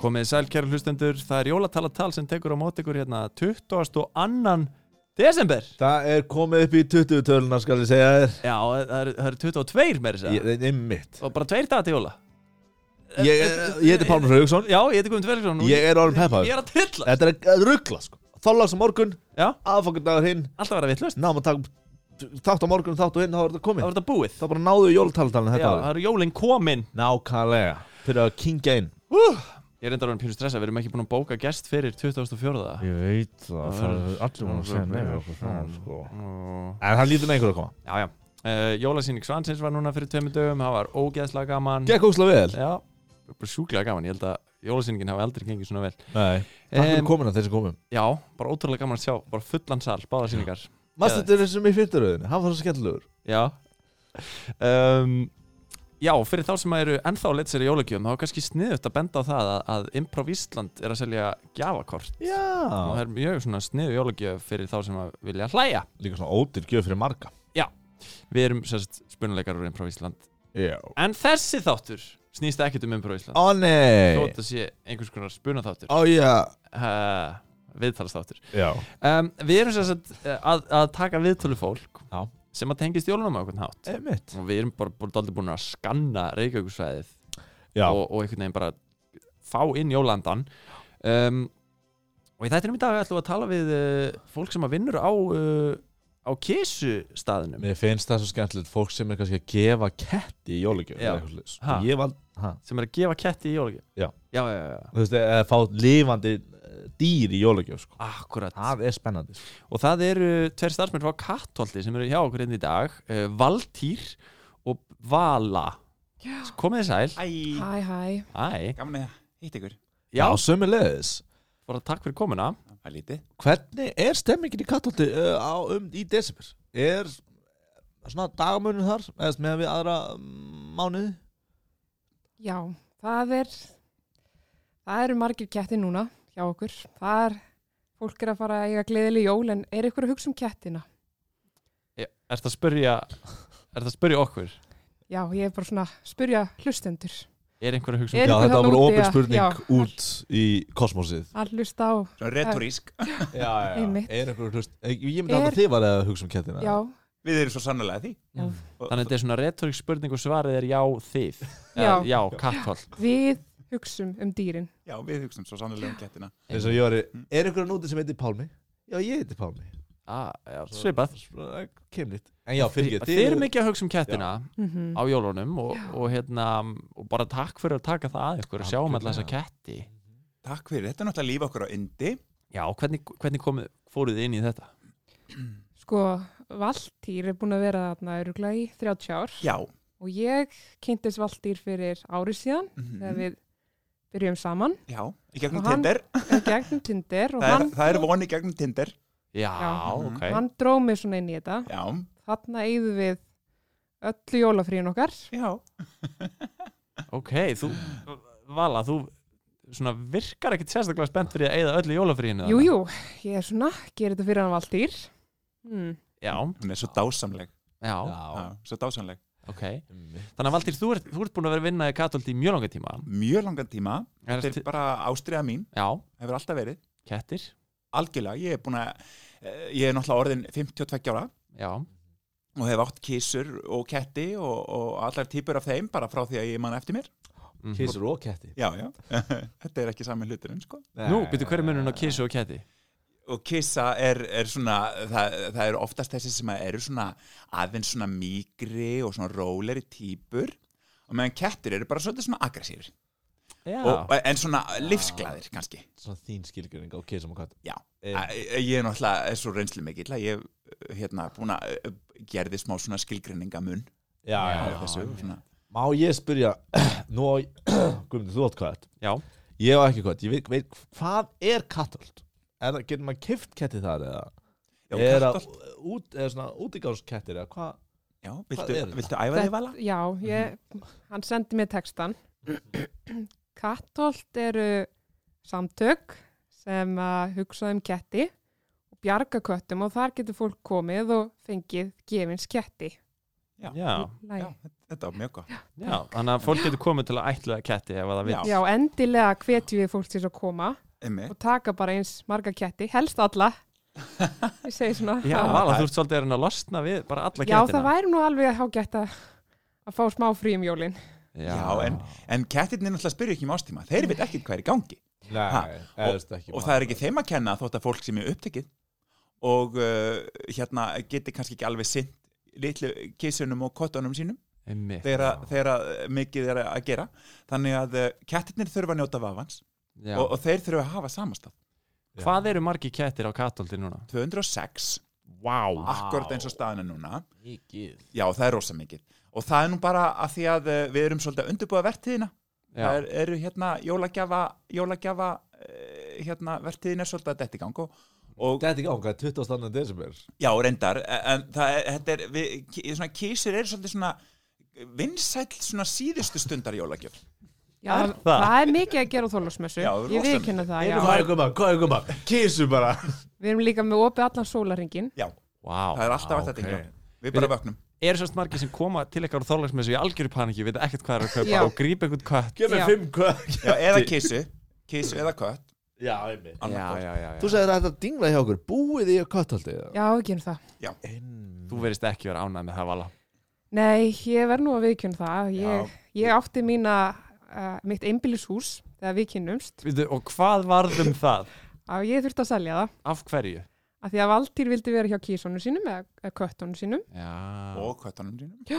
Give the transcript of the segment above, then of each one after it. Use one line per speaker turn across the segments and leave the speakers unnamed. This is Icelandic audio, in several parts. Komið sæl kæra hlustendur, það er jólatalatal sem tekur á mót ykkur hérna 22. desember
Það er komið upp í 20 töluna skal ég segja þér
Já, það eru er 22 meira
Ég-
þess
Það er mitt
að og bara tveir dagar til jóla
Ég, ég heiti Pálmur Haugsson
Eh, Já, ég heiti Guðmund Verðursson
Ég er orðin
ég
peppaður
er að trilla
Þetta er ruggla sko Þorlags á morgun
Já,
Aðfokkadagur hinn
alltaf vera vittlust
Náma takk Þátt á morgun, þátt á hinn Þá er þetta
Það
komið
voru þetta búið
Þá bara náðu jólatalatalinn
Já,
þetta
það
árið
eru jólin komin
Nákvæmlega Fyrir að kingja inn
uh, Ég er enda orðin pínu stressa, við erum ekki búin að bóka gest fyrir 24.
Ég veit það
Það er-
allir búin
það er-
við
það
okkur
er-
svona, sko.
Mm.
En það lítur með einhverju að koma
Já, já uh, Jólasýning Svansins var núna fyrir tveimur dögum Það var ógeðslega gaman
Gekk óslega vel
Já, bara sjúklega gaman Ég held að jólasýningin hafi aldrei gengið svona vel
Nei Takk fyrir
Em,
komina þeir sem komum
Já, bara ótrúlega gaman að sjá Bara fullan sal, báða sýningar
Mastu þetta sem í fyrtaröðin Hann var svo skemmtilegur
Já um, Já, fyrir þá sem eru ennþá leitt sér í jólagjöfum þá er kannski sniðut að benda á það að, að Improv Ísland er að selja gjafakort og það
Já
er mjög svona sniðu jólagjöf fyrir þá sem að vilja hlæja
Líka svona ódýr gjöf fyrir marga
Við erum sérst spunuleikar úr Improv Ísland
Já
En þessi þáttur snýst ekkert um Improv Ísland
Ó nei
Þótt að sé einhvers konar spunaþáttur
Ó já
uh, Viðtalsþáttur
Já
um, Við erum sérst að, að, að taka viðtölu fólk
Já.
sem að tengist jólunum á einhvern hátt
Einmitt
og við erum bara, bara daldið búin að skanna Reykjavíkursvæðið
Já
og, og einhvern veginn bara fá inn Jólandan um, og í þættinum í dag ætlum við að tala við uh, fólk sem að vinnur á uh, á kísu staðinum
Mér finnst það svo skemmtilegt Fólk sem er kannski að gefa ketti í jólugjöf
Já. Ha.
Ég var ha.
sem er að gefa ketti í jólagjöf
Já.
já, já, já, já.
Þú veist, eða fá lifandi eh, dýr í jólugjöf sko.
akkurat
Það er spennandi sko.
og það eru tveir starfsmenn frá Kattolti sem eru hjá okkur inn í dag uh, Valtýr og Vala
Já.
komið þið sæl
Æ,
Hæ, hæ.
Æ.
gaman að hitt ykkur
já,
Já, sömu leiðis
bara takk fyrir komuna
Það er lítið
Hvernig er stemmingin í Katolti uh, á, um, í desember? Er svona dagmönnum þar eða með við aðra um, mánuði?
Já, það er það eru margir kettir núna hjá okkur. Það er fólk er að fara að eiga gleðileg jól en er ykkur að hugsa um kettina?
er það að spyrja er það að spyrja okkur
Já, ég er bara svona að spyrja hlustendur.
er einhver að hugsa um
Er
Já,
ykkur
þetta
þarna
var
úti
ofin
að- já,
spurning út í kosmosið
að hlusta á,
Svo retorísk
Já, já,
Einmitt.
Er einhver hlust Ég ég myndi
Er-
að þið var að hugsa um kettina
já,
Við erum svo sannlega því
Já.
Og-
Þannig að þetta er svona retorík spurning og svarið er já þið
Já.
já kattholt
við hugsum um dýrin.
Já, við hugstum svo sannlega um kettina
eins og ég var er einhver að núti sem heitir Pálmi já ég heiti Pálmi
ah, já, Svipað
Svo- kemnit en já fyrir ekki
Þeir eru mikið að hugsa um kettina
Mm
á jólunum og, og, hérna, og bara takk fyrir að taka það að ykkur og sjáum alltaf þessa ketti
Takk fyrir, þetta er náttúrulega líf okkur á yndi
Já, hvernig, hvernig komið, fóruð þið inn í þetta?
Sko, Valtýr er búin að vera þarna öruglega í 30 ár
Já
og ég kynntist Valtýr fyrir árið síðan þegar við byrjum saman
Mhm. Já, í gegnum
Og hann-
Tinder
í gegnum Tinder og
það er,
hann,
það er voni í gegnum Tinder
Já,
Já.
ok
hann dróð mig svona inn í þetta.
Já,
Þarna eigðum við öllu jólafríun okkar.
já
Ok, þú, Vala, þú svona virkar ekkit sérstaklega spennt fyrir að eyða öllu jólafríinu
Jú, jú, ég er svona, gerir þetta fyrir hann Valdýr. Hmm.
Já,
Hún er svo dásamleg
já,
já,
já
Svo dásamleg
ok Þannig að Valtýr, þú ert, þú ert búin að vera að vinna í kattholti í mjög langa tíma
Mjög langan tíma Þetta
Ertu-
er bara ástriða mín
Já,
Hefur alltaf verið
kettir
Algjörlega, ég er búin að eh, Ég er náttúrulega orðin 52 ára
Já,
og hef átt kísur og ketti og, og allar típur af þeim bara frá því að ég man eftir mér
mhm.
kísur og ketti
Já, já, þetta er ekki sami hluturinn sko.
Nú, byrju, hver er munurinn á kísu og ketti?
Og kissa er, er svona, það, það eru oftast þessi sem eru svona aðeins svona mýgri og svona róleri típur og meðan kettir eru bara svolítið svona aggressífur
Já,
og, en svona lífsglæðir kannski.
svona þín skilgjöring á kísum og ketti
Já.
Eh,
Æ, Ég er náttúrulega er svo reynslu mikill að ég eh, hérna búin að eh, gerði smá svona skilgrinningamun
já já
á
já.
þessu svona.
má ég spyrja nú á- Guðmundur þú átt kött
já
ég á ekki kött ég veit, veit hvað er kattolt er það getur maður kift ketti þar eða
Já,
er
kattar,
það út er svona útigangskettir eða hvað
já,
Hvað
viltu,
er þetta?
viltu æfa þig vala?
já, ég, hann sendi mér textan. Kattolt eru samtök sem að hugsa um ketti og bjarga köttum og þar getur fólk komið og fengið gefins ketti.
Já.
já,
Læ.
Já, þetta var mjög gott.
já, þannig að fólk getur komið til að ætla ketti ef að það vil
Já.
Já, endilega hvetjum við fólk til að koma
Einmitt.
og taka bara eins marga ketti, helst alla. Ég segi svona.
Já,
Já.
Vala, þú ert svolítið að reyna að losna við bara alla
Já,
kettina
það væri nú alveg að hágætt að að fá smá frí um jólin.
Já,
Já, En kettirnir náttúrulega spyrja ekki um ástíma. Þeir veit ekki hvað er í gangi. Ha,
Nei, eða veist ekki
Og það er ekki þeim að kenna þótt að fólk sem er upptekið og uh, hérna geti kannski ekki alveg sint litlu kissunum og kottunum sínum
Einmitt.
þegar að- þegar að mikið er að gera. Þannig að uh, kettirnir þurfa að njóta vafans
Já.
og, og þeir þurfa að hafa samastað.
Hvað eru margi kettir á katóldi núna?
206,
Vá
akkurat eins og staðan er núna.
Mikið
Já, það er rosa mikið. Og það er nú bara að því að uh, við erum svolítið að undirbúa vertíðina. Það
Já,
er, eru hérna jólagjafa, jólagjafa uh, hérna vertíðin er svolítið að detti gang og, og
Þetta er ekki ángað 22. desember
já, reyndar, e, en það er, þetta er við, ki- svona, kísur eru svolítið svona vinsæll svona síðustu stundar jólagjöf.
Já,
Er
það?
það?
er mikið að gera á þólusmessu.
Já, rosa
Ég viðkynna það, já.
Hvað er gumma, hvað er gumma Kísu bara
Við erum líka með opið allan sólaringin.
Já,
vá
það er alltaf að þetta
ok.
okay. Við bara vöknum.
Eru sérst margi sem koma til ykkar á þorlagsmessu í algjöru paníki, veit ekkert hvað er að kaupa
Já.
og grípa einhvern katt
Gjöf
Já.
mér fimm hvað
Já, eða kísu, kísu eða kött.
Já, einmitt
annað hvort.
já,
Þú segir að þetta dingla hjá okkur, búið í að katthaldi
Já, við gerum það.
Þú verist ekki vera ánægð með það, Vala
Nei, ég verð nú að viðkynna það. Ég, ég átti mína, uh, mitt einbýlishús þegar við kynnumst.
Veitu, Og hvað varð um það?
Að ég þurfti að selja það.
Af hverju?
Af því að Valtýr vildi vera hjá kísónu sínum eða eða köttónu sínum.
Já,
og köttunum sínum já,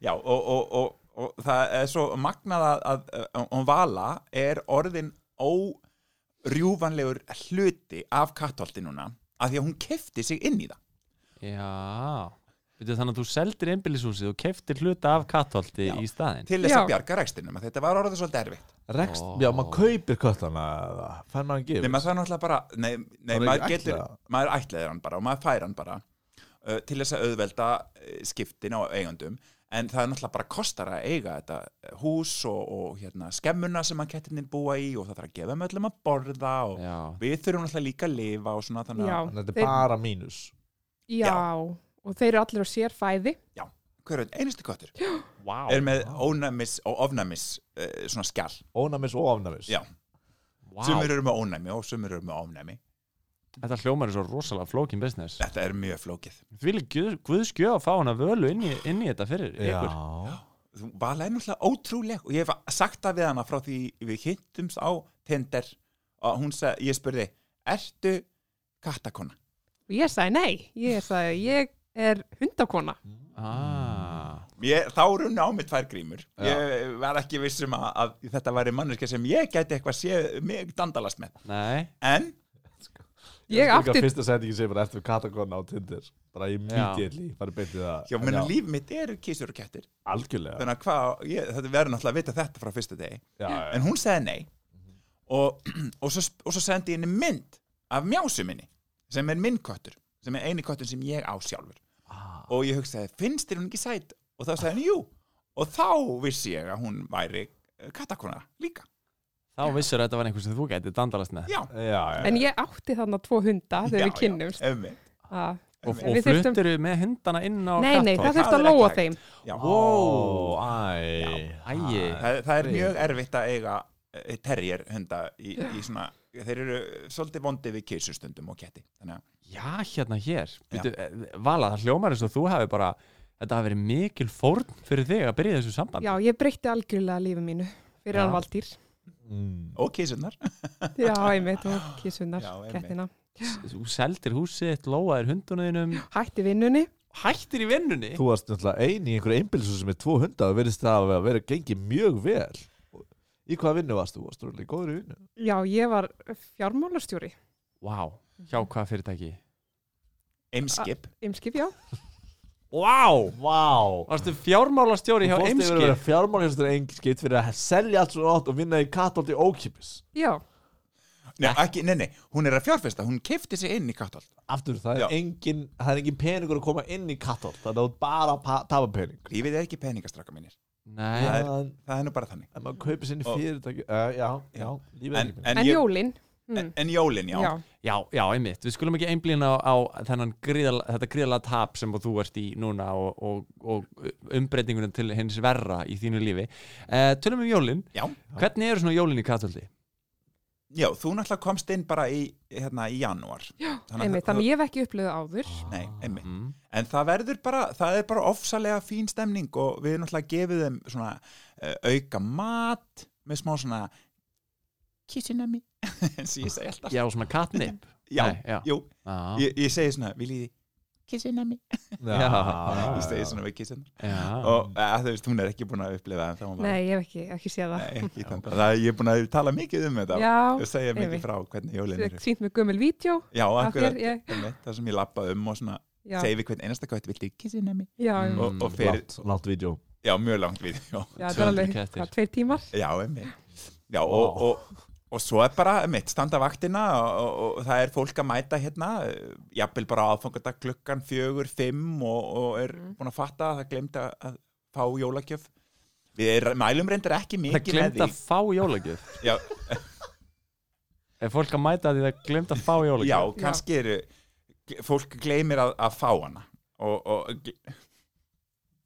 já og, og, og, og, það er svo magnað að, að, að um vala er orðin órjúvanlegur hluti af kattholti núna af því að hún kefti sig inn í það
já. Veitu, Þannig að þú seldir einbýlishúsið og keftir hluta af katóldi
Já.
í staðinn
til þess
Já.
að bjarga rekstinum að þetta var orðið svolítið erfitt
Rekst,
Ó.
já, maður kaupir kattana eða Fær maður að gefa
nema það er náttúrulega bara nei, nei,
Það er
maður,
ekki
getur,
ætlað.
maður ætlaðir hann bara og maður fær hann bara uh, til þess að auðvelda uh, skiptin á eigundum en það er náttúrulega bara kostar að eiga þetta uh, hús og, og hérna, skemmuna sem að kettinir búa í og það þarf að gefa með öllum að borða og
Já,
við þurfum náttúrulega líka að lifa og svona þannig
Já,
að
Þannig að þetta
þeir,
er bara mínus
já, og þeir eru allir á sér fæði.
hver veit, einasti köttur
vá
er með ónæmis og ofnæmis uh, svona skjall,
Ónamis og ofnamis
Já.
Vá.
sumir eru með ónæmi og sumir eru með ofnæmi,
Þetta hljómar er svo rosalega flókin business
þetta er mjög flókið
Því guð, guðskjö að fá hana völu inn í, inn í þetta fyrir
Já.
ykkur
þú vala er náttúrulega ótrúleg og ég hef sagt það við hana frá því við hittumst á Tinder og hún sagði, ég spurði ertu kattakona?
Og ég sagði nei, ég sagði ég er hundakona.
ah.
Ég, þá runni á mig tvær grímur
Já.
ég var ekki viss um að, að þetta væri manneska sem ég gæti eitthvað sé mig dandalast með,
Nei,
en
Ég
Ég átti
átti-
Fyrsta setningi sem bara eftir kattakonna á Tinder Bara immediately, bara beintið það
hjá minna
Já,
líf mitt eru kísur og kettir
Algjörlega
þannig að hvað, ég, þetta verður náttúrulega að vita þetta frá fyrsta degi,
Já, já.
en hún segði nei og, og, svo, og svo sendi ég henni mynd af mjásu minni sem er minn köttur, sem er eini köttur sem ég á sjálfur
Ah.
og ég hugsaði, finnst þér hún ekki sæt? og þá sagði henni, jú og þá vissi ég að hún væri kattakona líka,
þá vissur þetta var einhver sem þú gæti dandalast með
já
Já, já
En ég átti þarna tvo hunda þegar við kynnumst.
um,
Ah,
Og,
En
og
við þurftum-
fluttir við með hundana inn á
Nei, nei,
kattholf?
það
það
þurfti að
er ekki
lóa
hægt.
þeim.
já. Ah,
Ó,
æ
Æi.
það, það er mjög erfitt að eiga eh, terrier hunda í, í svona þeir eru svolítið vondi við kisustundum og ketti þannig að
Já, hérna hér Býtu, eh, Vala, það hljómar eins og þú hafi bara Þetta hafi verið mikil fórn fyrir þig að byrja í þessu samband
Já, ég breytti algjörlega lífið mínu fyrir
Já.
hann Valdýr.
Mm.
og kisunar
Já, einmitt og kissunar,
Já, einmitt.
kettina.
Þú seldir húsið, lóaðir hundunaðinum
Hætti vinnunni.
Hættir í vinnunni
Þú varst náttúrulega ein í einhverju einbilsu sem er 200 og verðist það að vera gengið mjög vel Og Í hvaða vinnu varst þú? Varst þú alveg góður í vinnu?
Já, ég var fjármálastjóri.
Vá, hjá
Mhm.
hvað fyrirtæki
Eimskip,
Ymskip, já.
Vá,
Vá
varstu fjármálastjóri hjá
Þú fórst yfir að vera
Eimskip
fjármálhjóstur einskipt fyrir að selja allt svo nátt og vinna í katóldi ókipis
Já,
nei, ekki, nei, nei, hún er að fjárfesta hún kefti sig inn í kattolt
Aftur, það
Já.
er, engin, það er engin peningur að koma inn í kattóld þannig að þú ert bara að pa- tapa pening
lífið er ekki peningastraka mínir
Nei,
Já. er-
En
það er nú bara þannig
en maður kaupir sinni
Og-
fyrirtæki uh, Já, já, lífið er
en,
ekki pening
en,
en
ég,
jólin. Mm.
en, en jólin, já,
já.
Já, já, einmitt, við skulum ekki einblýna á, á þennan gríðal, þetta gríðala tap sem þú ert í núna og, og, og umbreytingunum til hins verra í þínu lífi. Uh, tölum um jólin,
já.
hvernig eru svona jólin í katöldi?
Já, þú náttúrulega komst inn bara í, hérna, í janúar.
Já,
Þannig að
einmitt,
það-
þannig að ég hef ekki upplöðu áður
Nei, einmitt.
Mm.
En það verður bara, það er bara ofsalega fín stemning og við náttúrulega gefið þeim svona uh, auka mat með smá svona kissinami, eins og ég segi alltaf.
Já, svona katnip.
Já,
Nei, já.
jú,
Já,
ég, ég segi svona, viljið þið kissinami?
Já.
Ég segi svona við kissinami.
já.
Og uh, þú veist, hún er ekki búin að upplifa það. en þá var-
Nei, ég hef ekki, ekki séð það
Nei, ekki þannig. Það er- ég er búin að tala mikið um þetta
Já,
og segja mikið
einmitt.
frá hvernig jólin eru.
sínt með gömul vídeo
Já,
af
akkurat,
þér, ég-
einmitt, það sem ég lappa um og svona
Já,
segi við hvern einasta kvætt viltu kissinami?
já,
Mm.
Og, og sko, fyrir,
Látt vídeo
já, mjög langt við, já.
já það er
200
alveg
kettir.
hvað, tveir tímar
Já, einmitt. Já, og, og, og svo er bara, einmitt, standa vaktina og, og, og það er fólk að mæta hérna, eh, jafnvel bara aðfangadag klukkan fjögur, fimm og, og er
Mm.
búin að fatta að það glemd að fá jólagjöf. Við er, mælum reyndar ekki
Það
mikið með
glemt
því.
að fá jólagjöf.
Já,
Er fólk að mæta því það glemt að fá jólagjöf?
já, kannski eru, fólk gleymir að, að fá hana og, og gle-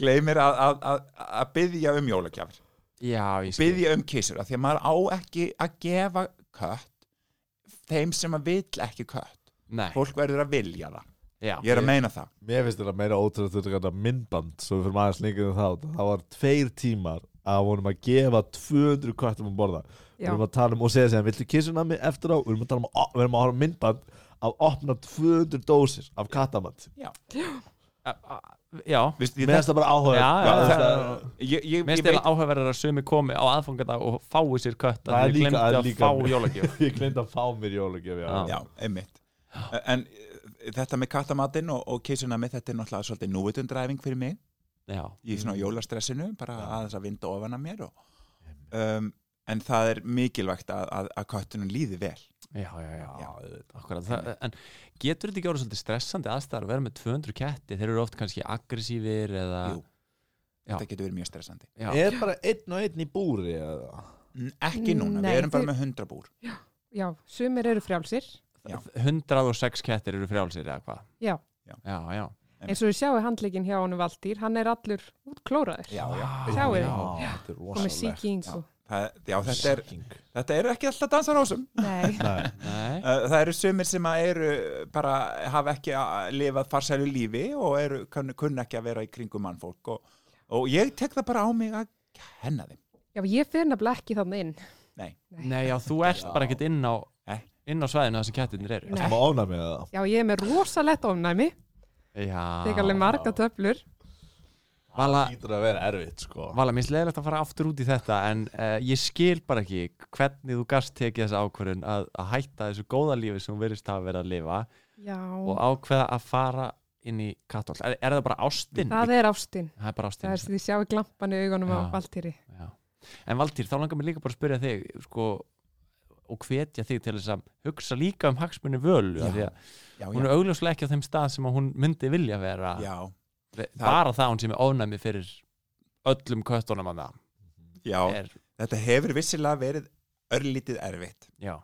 gleymir að, að, að, að byðja um jólagjafir.
Já, ég skil.
byggja um kissur af því að maður á ekki að gefa kött þeim sem að vill ekki kött
Nei,
fólk verður að vilja það
já. Eh,
ég er að meina það
Mér finnst þetta meira ótrúlega þetta gæta myndband svo við fyrir maður slengið um það það var tveir tímar að vonum að gefa 200 kvartum að um borða við
Já,
erum að tala um og segja segja viltu kissuna mig eftir á við erum að tala um að, við erum að horfa á myndband að opna 200 dósir af kattamat
A- a- eh, Já,
Vist, ég,
mér finnst það bara áhuga
Já, já, já.
það, það,
ég, ég,
Mér
ég
stil
veit
áhugaverðar að sömu komi á aðfangadag og fái sér kött
Það er
að þið
líka-
glemdi
það er
að
líka-
fá jólagjöf
ég glemt að fá mér jólugjöf já.
Já.
já, einmitt en eh, þetta með kattamatinn og, og kissuna með þetta er náttúrulega svolítið núvitundræfing fyrir mig
Já,
í svona
Mm.
jólastressinu bara
Já.
aðeins að vinda ofan að mér og, um, en það er mikilvægt að, að, að köttunum líði vel
já, já, já,
Já.
Akkurat, það, En getur þetta ekki orðið svolítið stressandi aðstæður að vera með 200 ketti, þeir eru oft kannski aggressífir eða
Jú.
Já.
þetta getur verið mjög stressandi
Já,
er bara einn og einn í búri eða?
N- ekki núna,
Nei,
við erum bara
þeir-
með 100 búr
já, sumir eru frjálsir
106 kettir eru frjálsir eða hvað
Já.
Já.
já, já.
eins og við sjáum handleikin hjá honum Valdýr hann er allur útklóraður
já, já,
Sjáið þið?
já.
Já, þetta er
og með
rosalegt
síking
já.
og...
Það, já þetta, er,
Sýking.
þetta er ekki alltaf dansa rásum
Nei,
Nei.
Nei,
Uh, Það eru sumir sem að eru bara hafa ekki að lifað farsælu lífi og eru, kann, kunna ekki að vera í kringum mannfólk og, og ég tek það bara á mig að kenna þeim.
já, ég fyrir nefnilega ekki þannig inn
Nei, já, þú ert bara ekkert inn á
Nei.
inn á svæðinu þar sem kettirnir eru
Nei.
Það má ofna með það
Já, ég er með rosalett ofnæmi
Ah.
tek alveg
Já,
marga töflur
Vala,
Það hlýtur að vera erfitt sko
Vala, mér er leiðilegt að fara aftur út í þetta en uh, ég skil bara ekki hvernig þú gast tekið þessa ákvörðun að, að hætta þessu góða lífi sem hún verist að vera að lifa
Já,
og ákveða að fara inn í katthól. Er, er það bara ástin?
það er ástin
Það er bara ástin.
það er því sjáu glampan í
Já.
augunum á Valdýri
Já. En Valtýr, þá langar mér líka bara að spyrja þig sko, og hvetja þig til þess að hugsa líka um hagsmunni völu
Já,
af því að
Já,
hún
já,
er augljóslega ekki á þeim stað sem að hún myndi vilja vera.
já,
Ve- Bara það að hún sem er ofnæmi fyrir öllum köttunum að það
já,
er,
þetta hefur vissilega verið örlítið erfitt
já,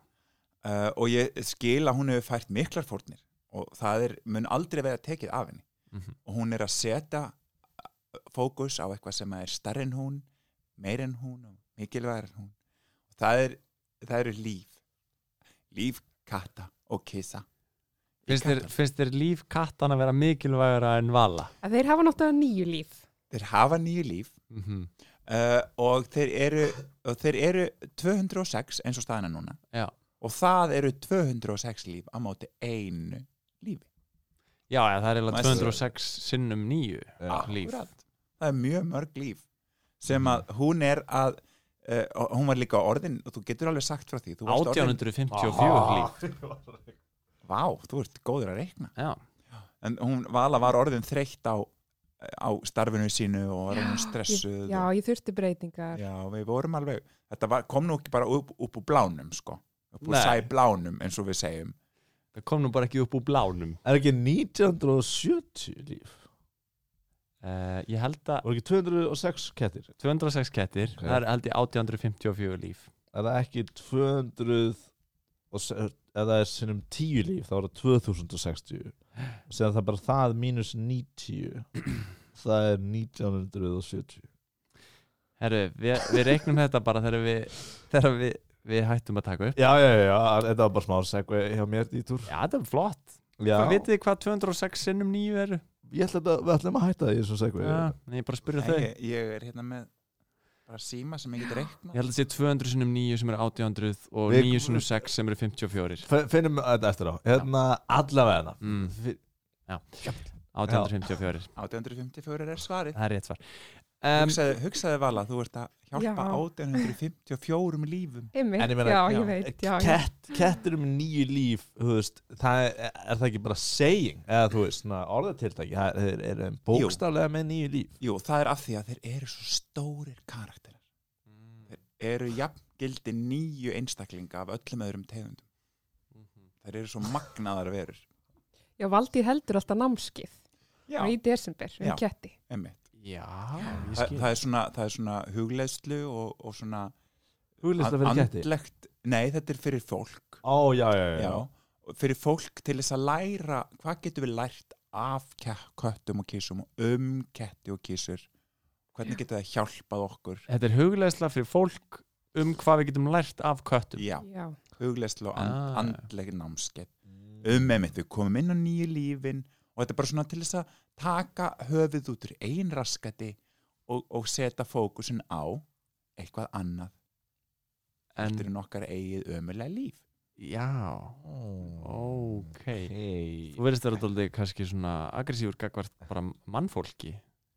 uh, og ég skil að hún hefur fært miklar fórnir og það er, mun aldrei vera tekið af henni
Mhm.
og hún er að setja eh, fókus á eitthvað sem er starri en hún, meir en hún og mikilvægur en hún og það, er, það eru líf líf katta og kissa
finnst, þér,
Kattar.
finnst þér líf kattan að vera mikilvægara en vala?
að þeir hafa náttúrulega nýju líf
þeir hafa nýju líf
Mm
uh, og, þeir eru, og þeir eru 206 eins og staðina núna
Já.
og það eru 206 líf á móti einu lífi
Já, já, það er eiginlega
Mæstu-
206 sinnum nýju
Já.
líf.
Akkúrat. það er mjög mörg líf sem að
Mhm.
hún er að uh, og hún var líka orðin og þú getur alveg sagt frá því þú varst orðin-
Ah.
1854 líf.
Vá, þú ert góður að reikna
Já,
en hún Vala var orðin þreytt á, á starfinu sínu og var orðin stressuð
Já, ég þurfti
og,
breytingar
já, við vorum alveg þetta var, kom nú ekki bara upp, upp úr blánum sko, upp úr
Nei.
sæ blánum eins og við segjum
það kom nú bara ekki upp úr blánum.
Er ekki 1970 líf?
Uh, ég held að
Var ekki 206 kettir?
206 kettir,
Ok.
það er held ég 1854 líf.
Er það ekki 200 og s- ef það er sinnum 10 líf þá er það 2060 og segja það bara það mínus 90 það er 1970
Herru, við, við reiknum þetta bara þegar við, þegar við, við hættum að taka upp
já, já, já, þetta var bara smá segvei hjá mér í túr
Já, þetta er flott
já,
Hvað vitið þið hvað 206 sinnum nýju eru?
ég ætla að við ætlum að hætta því þessum segvei
Já, ég er bara að spyrja þau
Nei, ég, ég er hérna með bara síma sem ég get reikna
Ég held að sé 200 sinnum 9 sem eru 800 og
Við-
9 sinnum 6 sem eru 54
finnum þetta eftir á hérna allavega
mm,
hérna
854,
1854 er svarið
það er rétt svar um,
hugsaði, hugsaði Vala, þú ert að hjálpa
Já.
1854 lífum
Einmitt,
En ég meina,
já,
já,
ég veit, já, já.
Kett, kettir um nýju líf þú veist, það er, er það ekki bara saying eða þú veist, svona orðatiltæki það er, er, er bókstaflega með nýju líf
Jú, það er af því að þeir eru svo stórir karakterar þeir eru jafn gildi nýju einstaklinga af öllum öðrum tegundum þeir eru svo magnaðar verur
Já, Valdið heldur alltaf námskið
Já,
í desember um
Já.
ketti.
emmitt
Já, ég
Þa,
skil
það, er svona, það er svona hugleðslu og, og svona
Hugleðsla
an-
fyrir ketti?
andlegt, nei þetta er fyrir fólk
Ó, já, já, já,
já, og fyrir fólk til þess að læra hvað getum við lært af ke- köttum og kísum og um ketti og kísur hvernig getur það hjálpað okkur
Þetta er hugleðsla fyrir fólk um hvað við getum lært af köttum
já,
Já,
hugleðslu og and,
Ah.
andleg námskeið um einmitt, við komum inn á nýju lífin og þetta er bara svona til þess að taka höfuð út úr ein raskati og, og setja fókusin á eitthvað annað
En,
þetta er nokkar eigið ömulega líf
já, ok
Hey.
Þú verðist að vera dóldi kannski svona aggressífur gagvart bara mannfólki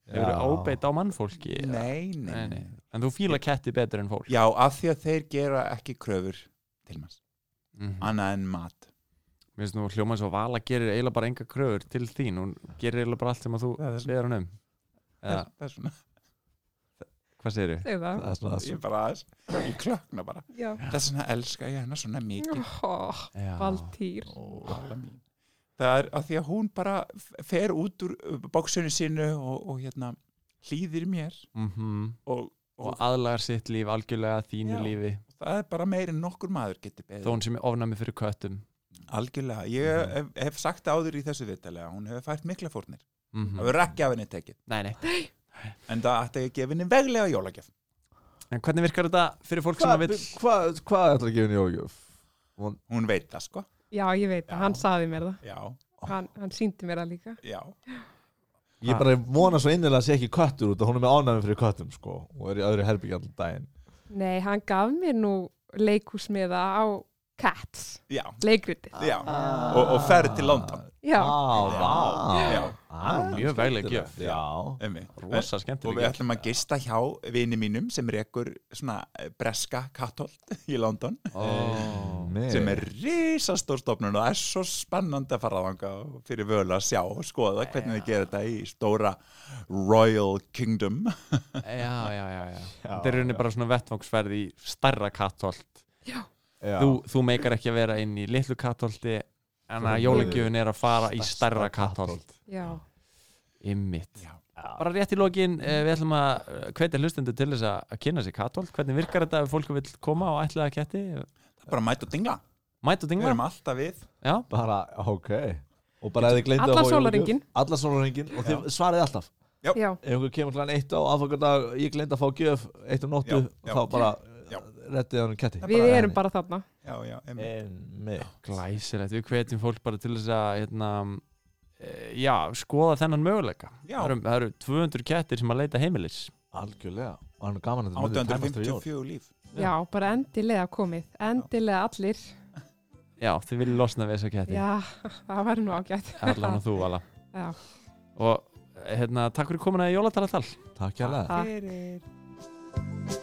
Þau
Já.
eru ábeitt á mannfólki
nei, nei,
Nei,
nei,
nei. En þú fíla ketti betur en fólk
já, af því að þeir gera ekki kröfur til manns,
Mhm.
annað en mat
Mér finnst nú hljóma eins og Vala gerir eiginlega bara enga kröfur til þín, hún gerir eiginlega bara allt sem að þú
Það er-
leður hann um Eða,
það, það er svona,
hvað segir þau?
þau það.
Það er svona
ég bara aðeins ég klökna bara,
Já. Oh,
það er svona elska ég hana svona mikið
Ó, Valdýr.
Alla mín. það er að því að hún bara f- fer út úr bóksunni sinu og, og hérna hlýðir mér og
Mhm. Og aðlagar sitt líf algjörlega að þínu
Já.
lífi
það er bara meir en nokkur maður getur beðið um.
Þó Mhm. hún sem er ofnæmi fyrir köttum
algjörlega, ég hef, hef sagt það áður í þessu vitalega, hún hefur fært mikla fórnir
Mhm.
það verður ekki af henni tekið
Nei, nei
en það ætti að gefa henni veglega jólagjöf
En hvernig virkar þetta fyrir fólk sem
Hvað
að vil
hva, hva ætla að gefa henni jólgjöf?
hún veit það sko
Já, ég veit
Já.
það, hann saði mér það.
já,
Hann, hann síndi mér það líka.
já,
Ég bara vona svo innilega að sé ekki köttur út og hún er með ánæmi fyrir köttum sko og er í öðru herbyggja allan daginn
Nei, hann gaf mér nú leikúsmiða á Cats,
já,
leikritið.
já. Og, og ferð til London
Já,
Á,
Já.
vá
Það er mjög vegleg gjöf.
Já
Einmitt.
Ah, Rosa
og við
skemmtilega
ætlum að gista hjá vini mínum sem rekur svona eh, breska katholt í London
Ó.
Nei.
sem er risastór stofnun og það er svo spennandi að fara þanga fyrir völu að sjá og skoða hvernig þið gera þetta í stóra Royal Kingdom
Já, já, já, já Þetta er rauninni bara svona vettvangsferð í stærra kattholt
Já.
þú, þú meikar ekki að vera inn í litlu kattholti En að jólagjöfun er að fara í stærra kattholt
já.
Ymmit
Já.
Bara rétt í lokin, eh, við ætlum að eh, hvetja hlustendur til þess að að kynna sér kattholt Hvernig virkar þetta ef fólk vil koma og ætla að ketti?
það er bara mætt og dingla,
Mæt og
við
dingla?
erum alltaf við
Já,
Bara, ok Og bara ef þið gleymdu að
Allan
fá jólagjöf-
sólarhringinn.
Allan sólarringin Og þið svarið alltaf
já.
Ef einhver kemur klæðan eitt á aðfangardag Ég gleyndi að fá gjöf eitt á nóttu
Já, já.
Þá bara
Já.
rettið hann um ketti
Við erum bara þarna.
já, já, einmitt.
Einmitt.
Glæsilegt, við hvetjum fólk bara til þess að hérna, eh, já, skoða þennan möguleika
Já.
það eru, það eru 200 kettir sem að leita heimilis
Algjörlega Og hann er gaman að þetta myndi tæmast fyrir jól.
854 líf
Já, bara endilega komið. Endilega allir.
Já, þið viljið losna við þessa ketti
Já, það var nú ágætt.
Allan og þú, Vala
Já.
Og eh, hérna, takk fyrir komuna í jólatalatal
Takk hérlega
Takk.
fyrir